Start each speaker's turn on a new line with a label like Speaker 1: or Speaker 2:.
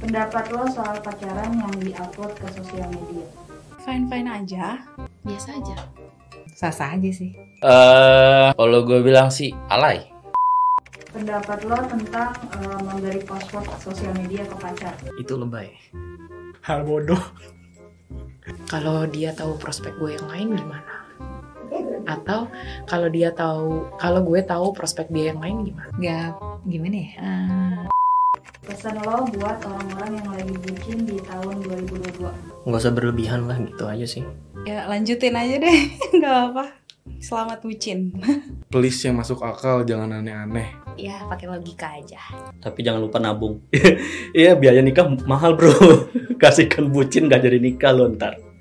Speaker 1: pendapat lo soal pacaran yang diupload ke sosial media
Speaker 2: Fine fine aja, biasa aja.
Speaker 3: Sah-sah aja sih.
Speaker 4: Eh, kalau gue bilang sih alay.
Speaker 1: pendapat lo tentang eh, memberi password sosial media ke pacar
Speaker 5: Itu lebay.
Speaker 6: Hal bodoh.
Speaker 7: kalau dia tahu prospek gue yang lain gimana atau kalau dia tahu kalau gue tahu prospek dia yang lain gimana
Speaker 3: Gak gimana ya?
Speaker 1: pesan lo buat orang-orang yang lagi bucin di tahun 2022
Speaker 5: Nggak usah berlebihan lah gitu aja sih.
Speaker 2: Ya lanjutin aja deh, nggak apa. Selamat bucin.
Speaker 6: Please yang masuk akal jangan aneh-aneh.
Speaker 2: Ya pakai logika aja.
Speaker 5: Tapi jangan lupa nabung. Iya biaya nikah mahal bro. Kasihkan bucin gak jadi nikah lo ntar.